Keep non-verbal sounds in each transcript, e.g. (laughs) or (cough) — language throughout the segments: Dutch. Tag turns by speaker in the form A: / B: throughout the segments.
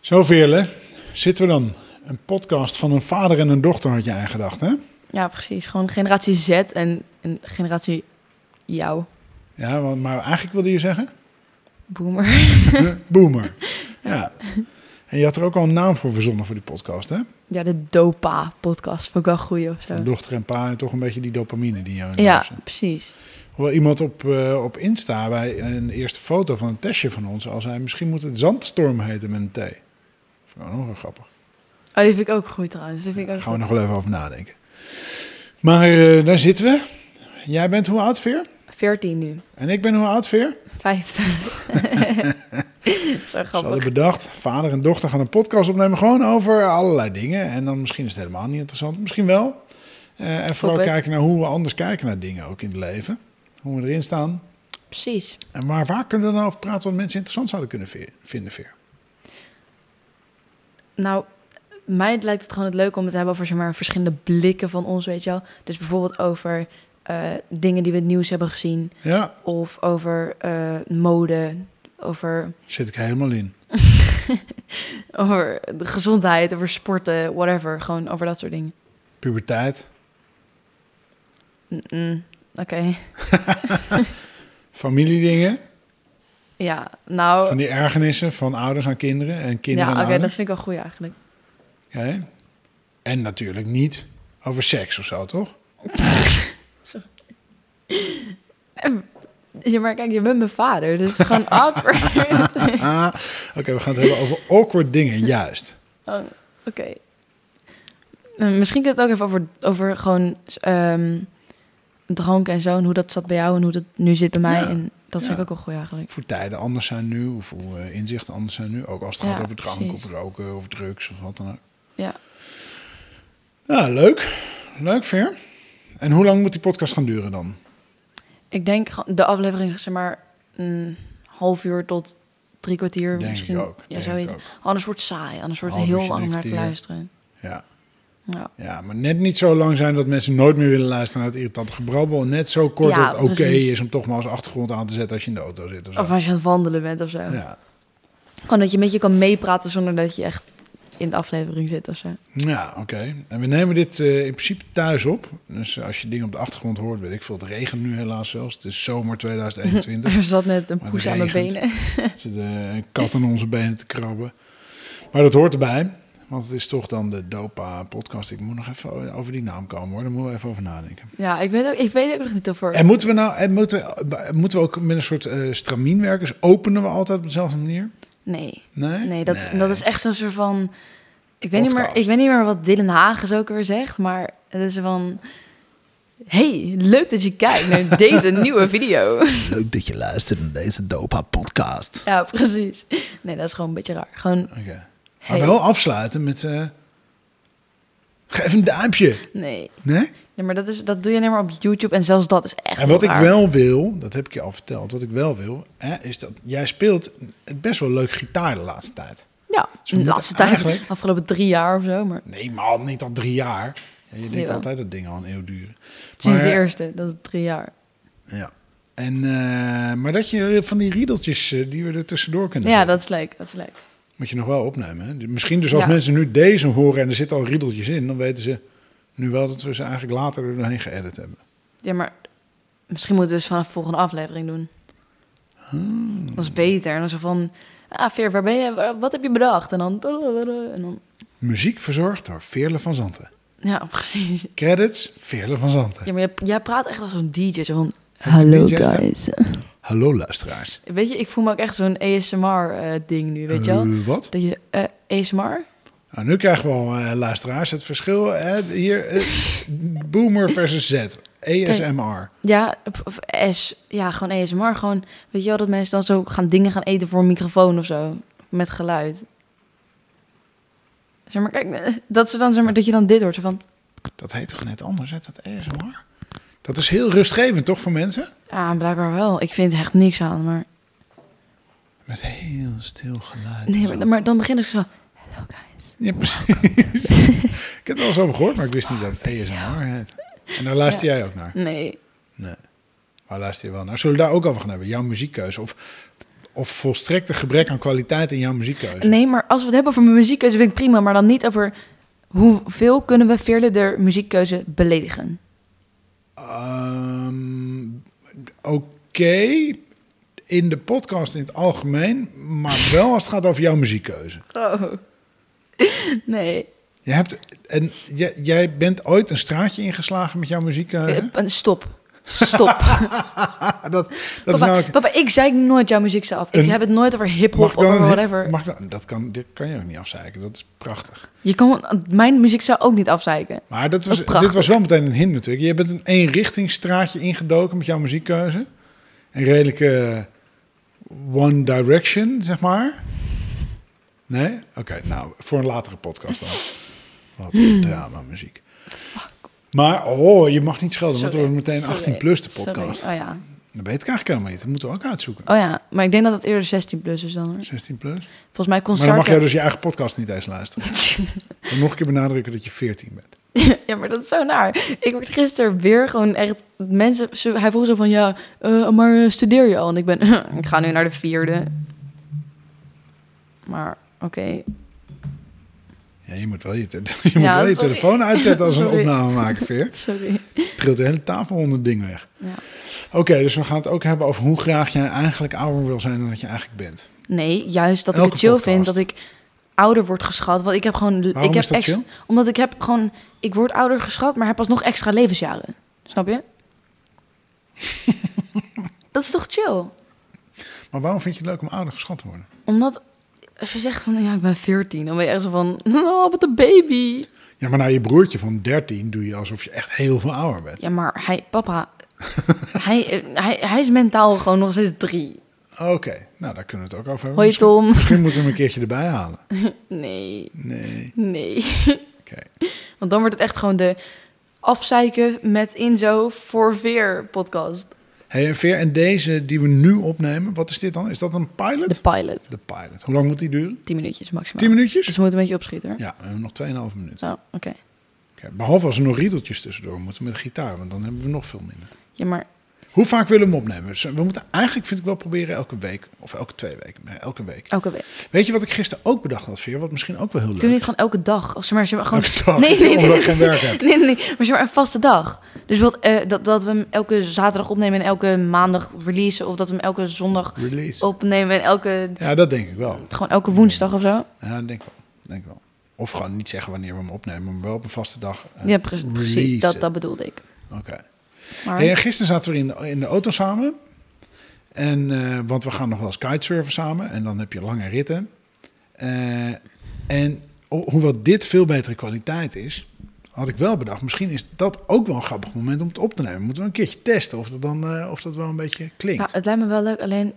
A: Zo Veerle, zitten we dan. Een podcast van een vader en een dochter had jij gedacht, hè?
B: Ja, precies. Gewoon generatie Z en, en generatie jou,
A: Ja, want, maar eigenlijk wilde je
B: (laughs)
A: zeggen?
B: boomer. (laughs)
A: Boomer. Ja. En je had er ook al een naam voor verzonnen voor die podcast, hè?
B: Ja, de DOPA-podcast vond ik wel goed of zo.
A: Van dochter en pa en toch een beetje die dopamine die jou in de
B: Ja,
A: neus zit.
B: precies.
A: Hoewel iemand op, eh, op Insta bij een eerste foto van een testje van ons al zei... misschien moet het Zandstorm heten met een T. Dat vind ik wel nog wel grappig.
B: Oh, die vind ik ook goed trouwens. Die vind ik
A: Daar
B: ook
A: gaan we
B: goed.
A: nog wel even over nadenken. Maar eh, daar zitten we. Jij bent hoe oud, Veer?
B: 14 nu.
A: En ik ben hoe oud, Veer? (laughs)
B: 50. (laughs) zo
A: Ze hadden
B: grappig.
A: bedacht, vader en dochter gaan een podcast opnemen, gewoon over allerlei dingen. En dan misschien is het helemaal niet interessant, misschien wel. Eh, en vooral
B: Hoop het.
A: kijken naar hoe we anders kijken naar dingen, ook in het leven. Hoe we erin staan.
B: Precies.
A: En maar waar kunnen we dan over praten wat mensen interessant zouden kunnen ve- vinden, Veer?
B: Nou, mij lijkt het gewoon het leuk om het te hebben over zeg maar, verschillende blikken van ons, weet je wel. Dus bijvoorbeeld over eh, dingen die we in het nieuws hebben gezien.
A: Ja,
B: Of over eh, mode. Over,
A: zit ik helemaal in.
B: over de gezondheid, over sporten, whatever. Gewoon over dat soort dingen.
A: Puberteit,
B: Mm-mm. Oké.
A: familiedingen,
B: Ja, nou.
A: van die ergernissen van ouders aan kinderen en kinderen nou,
B: ja,
A: aan
B: oké, dat
A: ouders.
B: vind ik wel goed eigenlijk.
A: Oké. En natuurlijk niet over seks of zo, toch? (laughs)
B: Ja, maar kijk, je bent mijn vader, dus het
A: (laughs)
B: is gewoon awkward. (laughs)
A: Ah, oké, we gaan het hebben over awkward dingen, juist.
B: Oh, oké. Eh, Misschien kun je het ook even over, over gewoon ehm drank en zo. En hoe dat zat bij jou en hoe dat nu zit bij mij.
A: Ja,
B: En dat vind
A: ja.
B: ik ook wel goed eigenlijk.
A: Of hoe tijden anders zijn nu, of hoe eh, inzichten anders zijn nu. Ook als het
B: Ja,
A: gaat over drank
B: precies.
A: of roken of drugs of wat dan ook.
B: Ja.
A: Ja, leuk. Leuk, Ver. En hoe lang moet die podcast gaan duren dan?
B: Ik denk gewoon- de aflevering is zeg maar een half uur tot drie kwartier.
A: Denk
B: misschien.
A: ik ook.
B: Ja,
A: denk
B: zoiets.
A: ik ook.
B: Anders wordt het saai. Anders wordt
A: Half
B: het heel
A: uurtje,
B: lang om
A: drie
B: naar te
A: kwartier.
B: luisteren.
A: Ja.
B: Ja,
A: ja, maar net niet zo lang zijn dat mensen nooit meer willen luisteren naar het irritante gebrabbel. Net zo kort
B: Ja,
A: dat het oké
B: precies.
A: is om toch maar als achtergrond aan te zetten als je in de auto zit. Of zo.
B: Of als je aan het wandelen bent of zo.
A: ja.
B: Gewoon dat je een beetje kan meepraten zonder dat je echt in de aflevering zit of zo.
A: Ja, oké. En we nemen dit eh, in principe thuis op. Dus als je dingen op de achtergrond hoort, weet ik veel. Het regent nu helaas zelfs. Het is zomer
B: (laughs)
A: 2021.
B: Er zat net een
A: Maar
B: poes
A: het
B: aan mijn
A: regent.
B: benen.
A: Er zit eh, een kat aan onze benen te krabben. Maar dat hoort erbij. Want het is toch dan de DOPA-podcast. Ik moet nog even over die naam komen hoor. Daar moeten we even over nadenken.
B: Ja, ik weet ook, ik weet ook nog niet of er...
A: En moeten we nou en moeten we, moeten we ook met een soort eh stramien werken? Dus openen we altijd op dezelfde manier?
B: Nee,
A: Nee?
B: nee, dat, dat is echt zo'n soort van... Ik weet, niet meer, ik
A: Podcast.
B: weet niet meer wat Dylan Hagens ook weer zegt, maar het is van... Hey, leuk dat je kijkt
A: (laughs)
B: naar deze nieuwe video.
C: Leuk dat je luistert naar deze Dopa-podcast.
B: Ja, precies. Nee, dat is gewoon een beetje raar. Gewoon,
A: Oké.
B: hey.
A: Maar wel afsluiten met... eh, geef een duimpje.
B: Nee.
A: Nee?
B: nee, maar dat, is, dat doe je alleen maar op YouTube en zelfs dat is echt
A: En wat
B: heel
A: ik
B: raar.
A: wel wil, dat heb ik je al verteld, wat ik wel wil, hè, is dat jij speelt best wel leuk gitaar de laatste tijd.
B: Ja,
A: we
B: de laatste tijd,
A: moeten eigenlijk-
B: afgelopen drie jaar of zo, maar
A: Nee, maar al niet al drie jaar. Ja, je denkt
B: Jawel.
A: altijd dat dingen al een eeuw duren.
B: sinds de
A: Maar-
B: eerste, dat is drie jaar.
A: Ja. En, eh, maar dat je van die riedeltjes eh, die we er tussendoor kunnen
B: Ja,
A: zetten,
B: dat is leuk, dat is leuk.
A: moet je nog wel opnemen. Hè? Misschien dus als
B: Ja.
A: mensen nu deze horen en er zitten al riedeltjes in, dan weten ze nu wel dat we ze eigenlijk later er doorheen geëdit hebben.
B: Ja, maar misschien moeten we dus vanaf de volgende aflevering doen.
A: Hmm.
B: Dat is beter. En dan zo van, ah Veer, waar ben je? Wa- Wat heb je bedacht? En dan... En dan
A: Muziek verzorgd door Veerle van Zanten.
B: ja, (laughs) precies.
A: Credits, Veerle van Zanten.
B: Ja, maar jij, jij praat echt als zo'n DJ. Zo van, hallo
A: DJ stem?
B: guys.
A: Hallo luisteraars.
B: Weet je, ik voel me ook echt zo'n ASMR-ding nu, weet je wel?
A: Eh, wat?
B: Dat je, eh, ASMR?
A: Nou, nu krijgen we al eh, luisteraars het verschil. eh, hier, eh, boomer versus Z. ASMR.
B: Ja, of, of S. Ja, gewoon ASMR. Gewoon, weet je wel, dat mensen dan zo gaan dingen gaan eten voor een microfoon of zo. Met geluid. Zeg maar, kijk, eh, dat ze dan, zeg maar, dat je dan dit hoort. Zo van,
A: Dat heet toch net anders, hè, dat ASMR? Dat is heel rustgevend, toch, voor mensen?
B: ah, blijkbaar wel. Ik vind er echt niks aan, maar...
A: Met heel stil geluid.
B: Nee, maar, maar dan begin ik zo... Hello guys.
A: Ja, precies. ik
B: (laughs)
A: heb er wel eens over gehoord, maar ik wist niet dat het ASMR heet. En daar luister jij ook naar?
B: Nee.
A: Nee. Waar luister je wel naar? Zullen we daar ook over gaan hebben? Jouw muziekkeuze of of volstrekte gebrek aan kwaliteit in jouw muziekkeuze.
B: Nee, maar als we het hebben over mijn muziekkeuze, vind ik prima. Maar dan niet over hoeveel kunnen we Veerle de muziekkeuze beledigen.
A: Ehm, Oké, in de podcast in het algemeen, maar wel als het gaat over jouw muziekkeuze.
B: Oh. (laughs) Nee.
A: Je hebt, en, jij, jij bent ooit een straatje ingeslagen met jouw muziekkeuze.
B: Eh, Stop. Stop.
A: Ah, (laughs) dat, (laughs) dat is
B: papa,
A: namelijk...
B: papa, ik zei nooit jouw muziek af. Ik
A: Een-
B: heb het nooit over
A: Mag
B: hip-hop
A: ik
B: of
A: dan
B: over
A: een-
B: whatever.
A: Mag ik dan, dat kan, dit kan je ook niet afzeiken, dat is prachtig.
B: Je kan mijn muziek zou ook niet afzeiken.
A: Maar dat was,
B: Ook prachtig.
A: dit was wel meteen een hint natuurlijk. Je bent een eenrichtingsstraatje ingedoken met jouw muziekkeuze. Een redelijke One Direction, zeg maar. Nee? Oké, nou, voor een latere podcast dan.
B: (laughs)
A: Wat een drama muziek. Maar, oh, je mag niet schelden, want we
B: Sorry,
A: hebben meteen
B: sorry,
A: 18 plus de
B: sorry.
A: podcast.
B: Oh ja.
A: Dat weet ik eigenlijk helemaal niet. Dat moeten we ook uitzoeken.
B: oh ja, maar ik denk dat het eerder 16 plus is dan. hoor.
A: 16 plus.
B: Volgens mij kon
A: Maar dan mag jij
B: Sartre...
A: dus je eigen podcast niet eens luisteren. En nog een keer benadrukken dat je 14 bent.
B: (laughs) Ja, maar dat is zo naar. Ik werd gisteren weer gewoon echt... Mensen, ze- hij vroeg zo van, ja, eh, maar eh, studeer je al? En ik ben, (laughs) ik ga nu naar de vierde. Maar, oké.
A: Ja, je moet wel je, te- (laughs) je, moet
B: Ja,
A: wel je
B: sorry.
A: telefoon uitzetten
B: (laughs)
A: als we een
B: Sorry.
A: opname maken, Veer.
B: Sorry.
A: Trilt de hele tafel onder het ding weg.
B: Ja.
A: Oké, dus we gaan het ook hebben over hoe graag jij eigenlijk ouder wil zijn dan dat je eigenlijk bent.
B: Nee, juist dat ik
A: Elke
B: het chill
A: podcast.
B: vind dat ik ouder word geschat. Want ik heb gewoon...
A: Waarom
B: ik heb
A: is dat
B: extra-
A: chill?
B: Omdat ik heb gewoon... Ik word ouder geschat, maar heb alsnog extra levensjaren. Snap
A: (laughs)
B: je? dat is toch chill?
A: Maar waarom vind je het leuk om ouder geschat te worden?
B: Omdat... Als je zegt van, ja, ik ben 14, dan ben je echt zo van... (laughs) Oh, wat een baby.
A: Ja, maar naar je broertje van 13 doe je alsof je echt heel veel ouder bent.
B: Ja, maar hij,
A: (laughs)
B: papa, hij, eh, hij, hij is mentaal gewoon nog steeds drie.
A: Oké, nou daar kunnen we het ook over hebben.
B: Hoi
A: misschien,
B: Tom.
A: misschien moeten we hem een keertje erbij halen.
B: Nee,
A: Nee,
B: nee.
A: oké.
B: Want dan wordt het echt gewoon de afzeiken met Inzo voor Veer podcast.
A: Hey, en Veer, en deze die we nu opnemen, wat is dit dan? Is dat een
B: De
A: pilot?
B: pilot.
A: De pilot. Hoe lang moet die duren?
B: Tien minuutjes maximaal.
A: 10
B: Dus
A: minuutjes?
B: we moeten een beetje opschieten. hoor.
A: Ja, we hebben nog 2,5 minuten.
B: Zo, oké.
A: Oké, behalve als er nog riedeltjes tussendoor moeten met gitaar, want dan hebben we nog veel minder.
B: Ja, maar
A: Hoe vaak willen we hem opnemen? Dus we moeten eigenlijk, vind ik wel, proberen elke week of elke twee weken. maar Elke week.
B: elke week.
A: Weet je wat ik gisteren ook bedacht had, Veer? Wat misschien ook wel heel leuk
B: Kun je niet gewoon elke dag? Of zeg maar, zeg maar gewoon...
A: Elke dag,
B: nee, nee, nee.
A: omdat
B: nee,
A: ik geen
B: nee,
A: werk
B: (laughs)
A: heb.
B: nee, nee, nee. Maar zeg maar een vaste dag. Dus wat, eh, dat, dat we hem elke zaterdag opnemen en elke maandag releasen. Of dat we hem elke zondag
A: Release.
B: opnemen en elke...
A: Ja, dat denk ik wel.
B: Gewoon elke woensdag of zo.
A: Ja, dat denk ik wel. Dat Denk ik wel. Of gewoon niet zeggen wanneer we hem opnemen, maar wel op een vaste dag. eh,
B: Ja, pre- precies.
A: releasen.
B: Dat, dat bedoelde ik.
A: Oké.
B: Maar
A: Hey, en gisteren zaten we in de, in de auto samen. En, eh, want we gaan nog wel eens kitesurfen samen. En dan heb je lange ritten. Eh, en ho- hoewel dit veel betere kwaliteit is... had ik wel bedacht, misschien is dat ook wel een grappig moment om het op te nemen. Moeten we een keertje testen of dat, dan, eh, of dat wel een beetje
B: ja,
A: klinkt.
B: Nou, het lijkt me wel leuk, alleen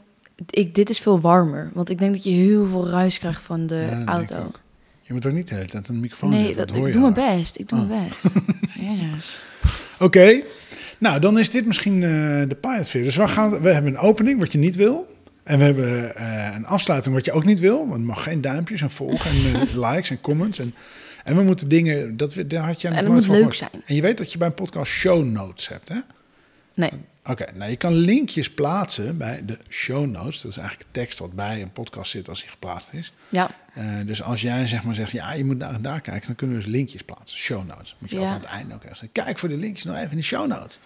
B: ik, dit is veel warmer. Want ik denk dat je heel veel ruis krijgt van de
A: Ja, dat denk ik
B: auto.
A: ook. Je moet ook niet de hele tijd aan de microfoon
B: Nee,
A: zitten,
B: dat,
A: dat, hoor
B: ik
A: je Ah.
B: doe mijn
A: al.
B: best. Ik doe mijn best. (laughs) Jezus.
A: Oké, nou dan is dit misschien eh, de pilot weer. Dus we, gaan, we hebben een opening wat je niet wil. En we hebben eh, een afsluiting wat je ook niet wil. Want het mag geen duimpjes en volgen en eh,
B: (laughs)
A: likes en comments. En, en we moeten dingen, dat we, daar had jij
B: En
A: nog
B: het
A: nooit
B: moet
A: van
B: leuk
A: gehoord.
B: zijn.
A: En je weet dat je bij een podcast show notes hebt, hè?
B: Nee.
A: Oké, nou je kan linkjes plaatsen bij de show notes. Dat is eigenlijk tekst wat bij een podcast zit als die geplaatst is.
B: Ja.
A: Eh, dus als jij zeg maar zegt, ja, je moet daar en daar kijken, dan kunnen we dus linkjes plaatsen. Show notes. Moet je
B: Ja.
A: altijd aan het einde ook even zeggen. Kijk voor de linkjes nog even in de show notes.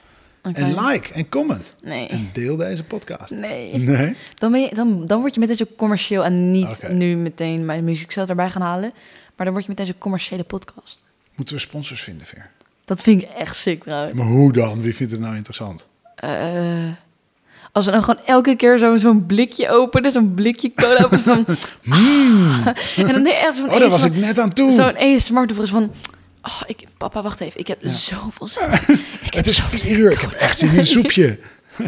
B: Oké.
A: En like en comment.
B: Nee.
A: En deel deze podcast.
B: Nee.
A: Nee?
B: Dan, ben je, dan, dan word je meteen zo commercieel en niet
A: Oké.
B: nu meteen mijn muziekcel erbij gaan halen. Maar dan word je meteen zo'n commerciële podcast.
A: Moeten we sponsors vinden, Ver?
B: Dat vind ik echt sick trouwens.
A: Maar hoe dan? Wie vindt het nou interessant?
B: Eh, als we dan gewoon elke keer zo- zo'n blikje openen, zo'n blikje cola openen
A: (laughs)
B: van... (laughs) en dan echt
A: Mm.
B: zo'n
A: Oh, daar was
B: ASMR
A: ik net aan toe.
B: Zo'n ASMR toevoer is van... Oh, ik, papa, wacht even. Ik heb
A: (laughs)
B: zoveel zin. (laughs) Ik heb
A: het is
B: zoveel zin
A: vier
B: in
A: uur. Ik
B: cola.
A: heb echt zin in een soepje.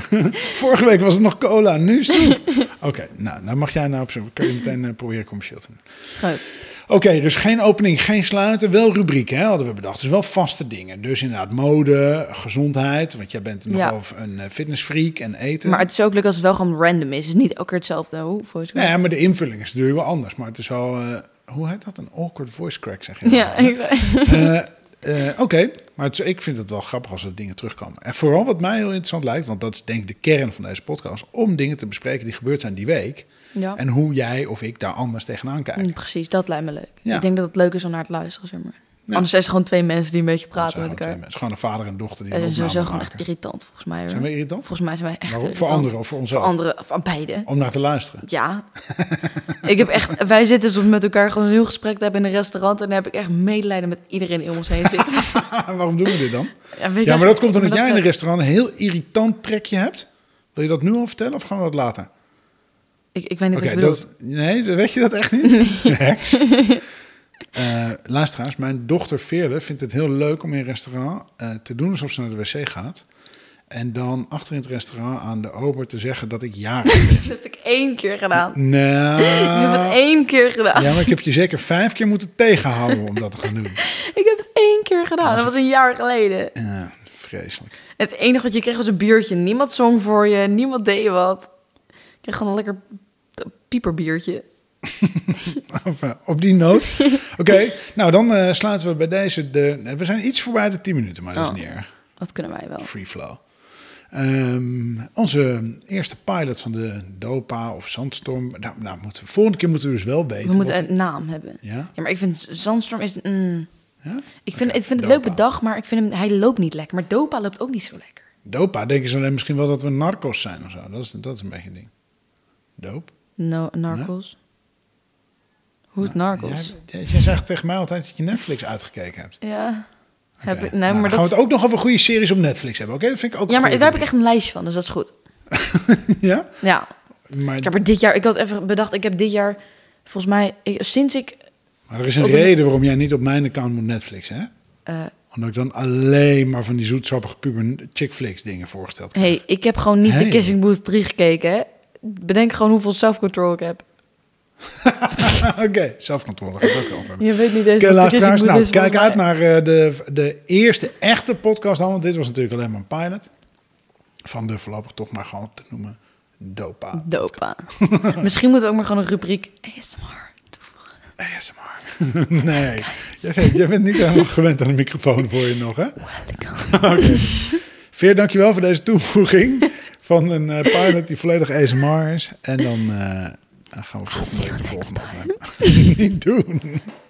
A: (laughs) Vorige week was het nog cola, nu
B: (laughs)
A: soep. Oké, nou, nou mag jij nou op zoek. Kun je meteen eh, proberen commercieel te doen.
B: Schuif.
A: Oké, dus geen opening, geen sluiten. Wel rubrieken hè, hadden we bedacht. Dus wel vaste dingen. Dus inderdaad mode, gezondheid. Want jij bent nogal een eh, fitnessfreak en eten.
B: Maar het is ook leuk als het wel gewoon random is. Het is niet elke keer hetzelfde. Hoe voice
A: Nee, maar de invulling is natuurlijk wel anders. Maar het is wel... eh, hoe heet dat? Een awkward voice crack, zeg je?
B: Ja,
A: nou, hè?
B: exact.
A: Eh, Eh, Oké, maar het is- ik vind het wel grappig als er dingen terugkomen. En vooral wat mij heel interessant lijkt, want dat is denk ik de kern van deze podcast, om dingen te bespreken die gebeurd zijn die week.
B: Ja.
A: En hoe jij of ik daar anders tegenaan kijk.
B: Mm, Precies, dat lijkt me leuk.
A: Ja.
B: Ik denk dat het leuk is om naar te luisteren, zeg maar.
A: Ja.
B: Anders zijn ze gewoon twee mensen die een beetje
A: Dat
B: praten
A: zijn
B: met
A: gewoon twee
B: elkaar.
A: mensen. Gewoon een vader en dochter die
B: Wij
A: een
B: zijn
A: opname
B: sowieso gewoon echt
A: maken.
B: irritant, volgens mij. Hoor.
A: Zijn we irritant?
B: Volgens mij zijn wij echt
A: Waarom? Voor
B: irritant.
A: anderen of voor onszelf? Oh.
B: Voor anderen, van beide.
A: Om naar te
B: (laughs)
A: luisteren. (laughs)
B: Ja. ik heb echt, wij zitten alsof we met elkaar gewoon een heel gesprek te hebben in een restaurant. En dan heb ik echt medelijden met iedereen die om ons heen
A: (laughs)
B: zit.
A: Ah, Waarom doen we dit dan?
B: (laughs) Ja, weet
A: Ja,
B: je-
A: maar dat komt omdat
B: maar
A: jij in
B: dat-
A: een restaurant een heel irritant trekje hebt. Wil je dat nu al vertellen of gaan we dat later?
B: Ik, ik weet niet
A: Oké,
B: wat je bedoelt.
A: dat nee, dat- weet je dat
B: (laughs)
A: echt niet? (laughs) Heks. Eh, luisteraars, mijn dochter Veerle vindt het heel leuk om in een restaurant eh, te doen alsof ze naar de wc gaat. En dan achter in het restaurant aan de ober te zeggen dat ik ja
B: (laughs)
A: ben.
B: Dat heb ik één keer gedaan.
A: nou,
B: Ik heb het één keer gedaan.
A: ja, maar ik heb je zeker vijf keer moeten tegenhouden om dat te gaan doen.
B: Ik heb het één keer gedaan. Dat was een jaar geleden.
A: Eh, vreselijk.
B: Het enige wat je kreeg was een biertje. Niemand zong voor je. Niemand deed wat. Ik kreeg gewoon een lekker pieperbiertje.
A: Enfin, eh, op die noot.
B: (laughs)
A: Oké, nou dan eh, sluiten we bij deze de... We zijn iets voorbij de 10 minuten, maar dat
B: Oh.
A: is niet erg.
B: Dat kunnen wij wel.
A: Free flow. Ehm, onze eerste pilot van de DOPA of Sandstorm. Nou, nou moeten we, volgende keer moeten we dus wel weten.
B: We moeten
A: wat-
B: een naam hebben.
A: ja?
B: Ja, maar ik vind Zandstorm is... mm.
A: ja?
B: ik vind,
A: Oké,
B: ik vind het
A: Dopa.
B: leuk bedacht, maar ik vind hem, hij loopt niet lekker. Maar Dopa loopt ook niet zo lekker.
A: DOPA denken ze alleen misschien wel dat we narcos zijn of zo. Dat is, dat is een beetje een ding. Doop?
B: No, Narcos. Hoe is Narcos?
A: Jij, jij zegt tegen mij altijd dat je Netflix uitgekeken hebt.
B: Ja. Heb
A: Oké.
B: ik,
A: Nou,
B: nee,
A: dan
B: maar
A: gaan we
B: dat,
A: het ook nog over goede series op Netflix hebben, oké? Dat vind ik ook
B: ja,
A: een
B: maar
A: goede
B: daar heb ik echt een lijstje van, dus dat is goed.
A: rubriek. (laughs) Ja?
B: Ja,
A: Maar,
B: ik heb er dit jaar... Ik had even bedacht, ik heb dit jaar... Volgens mij, ik- sinds ik...
A: maar er is een
B: op de-
A: reden waarom jij niet op mijn account moet Netflix, hè?
B: eh,
A: Omdat ik dan alleen maar van die zoetsappige puber chick flicks dingen voorgesteld krijg.
B: hey, ik heb gewoon niet
A: Hey.
B: de Kissing Booth 3 gekeken, hè. Bedenk gewoon hoeveel self-control ik heb.
A: (laughs) Oké, zelfcontrole gaat ook
B: (laughs)
A: over.
B: Je weet niet eens
A: Oké,
B: wat de Kissing
A: luisteraars,
B: Booth
A: nou,
B: is, dus volgens
A: kijk uit
B: mij.
A: naar eh, de, de eerste echte podcast dan, want dit was natuurlijk alleen maar een pilot. Van de voorlopig toch maar gewoon te noemen Dopa
B: Dopa. (laughs) Misschien moeten we ook maar gewoon een rubriek ASMR toevoegen.
A: ASMR. (laughs) nee, jij bent, jij bent niet helemaal (laughs) gewend aan een microfoon voor je nog, hè? (laughs)
B: Welcome.
A: Veer, dankjewel voor deze toevoeging van een eh, pilot die volledig ASMR is. En dan eh, dan gaan we volgende
B: see
A: week de
B: you next
A: (laughs) volgende opnemen. Niet doen.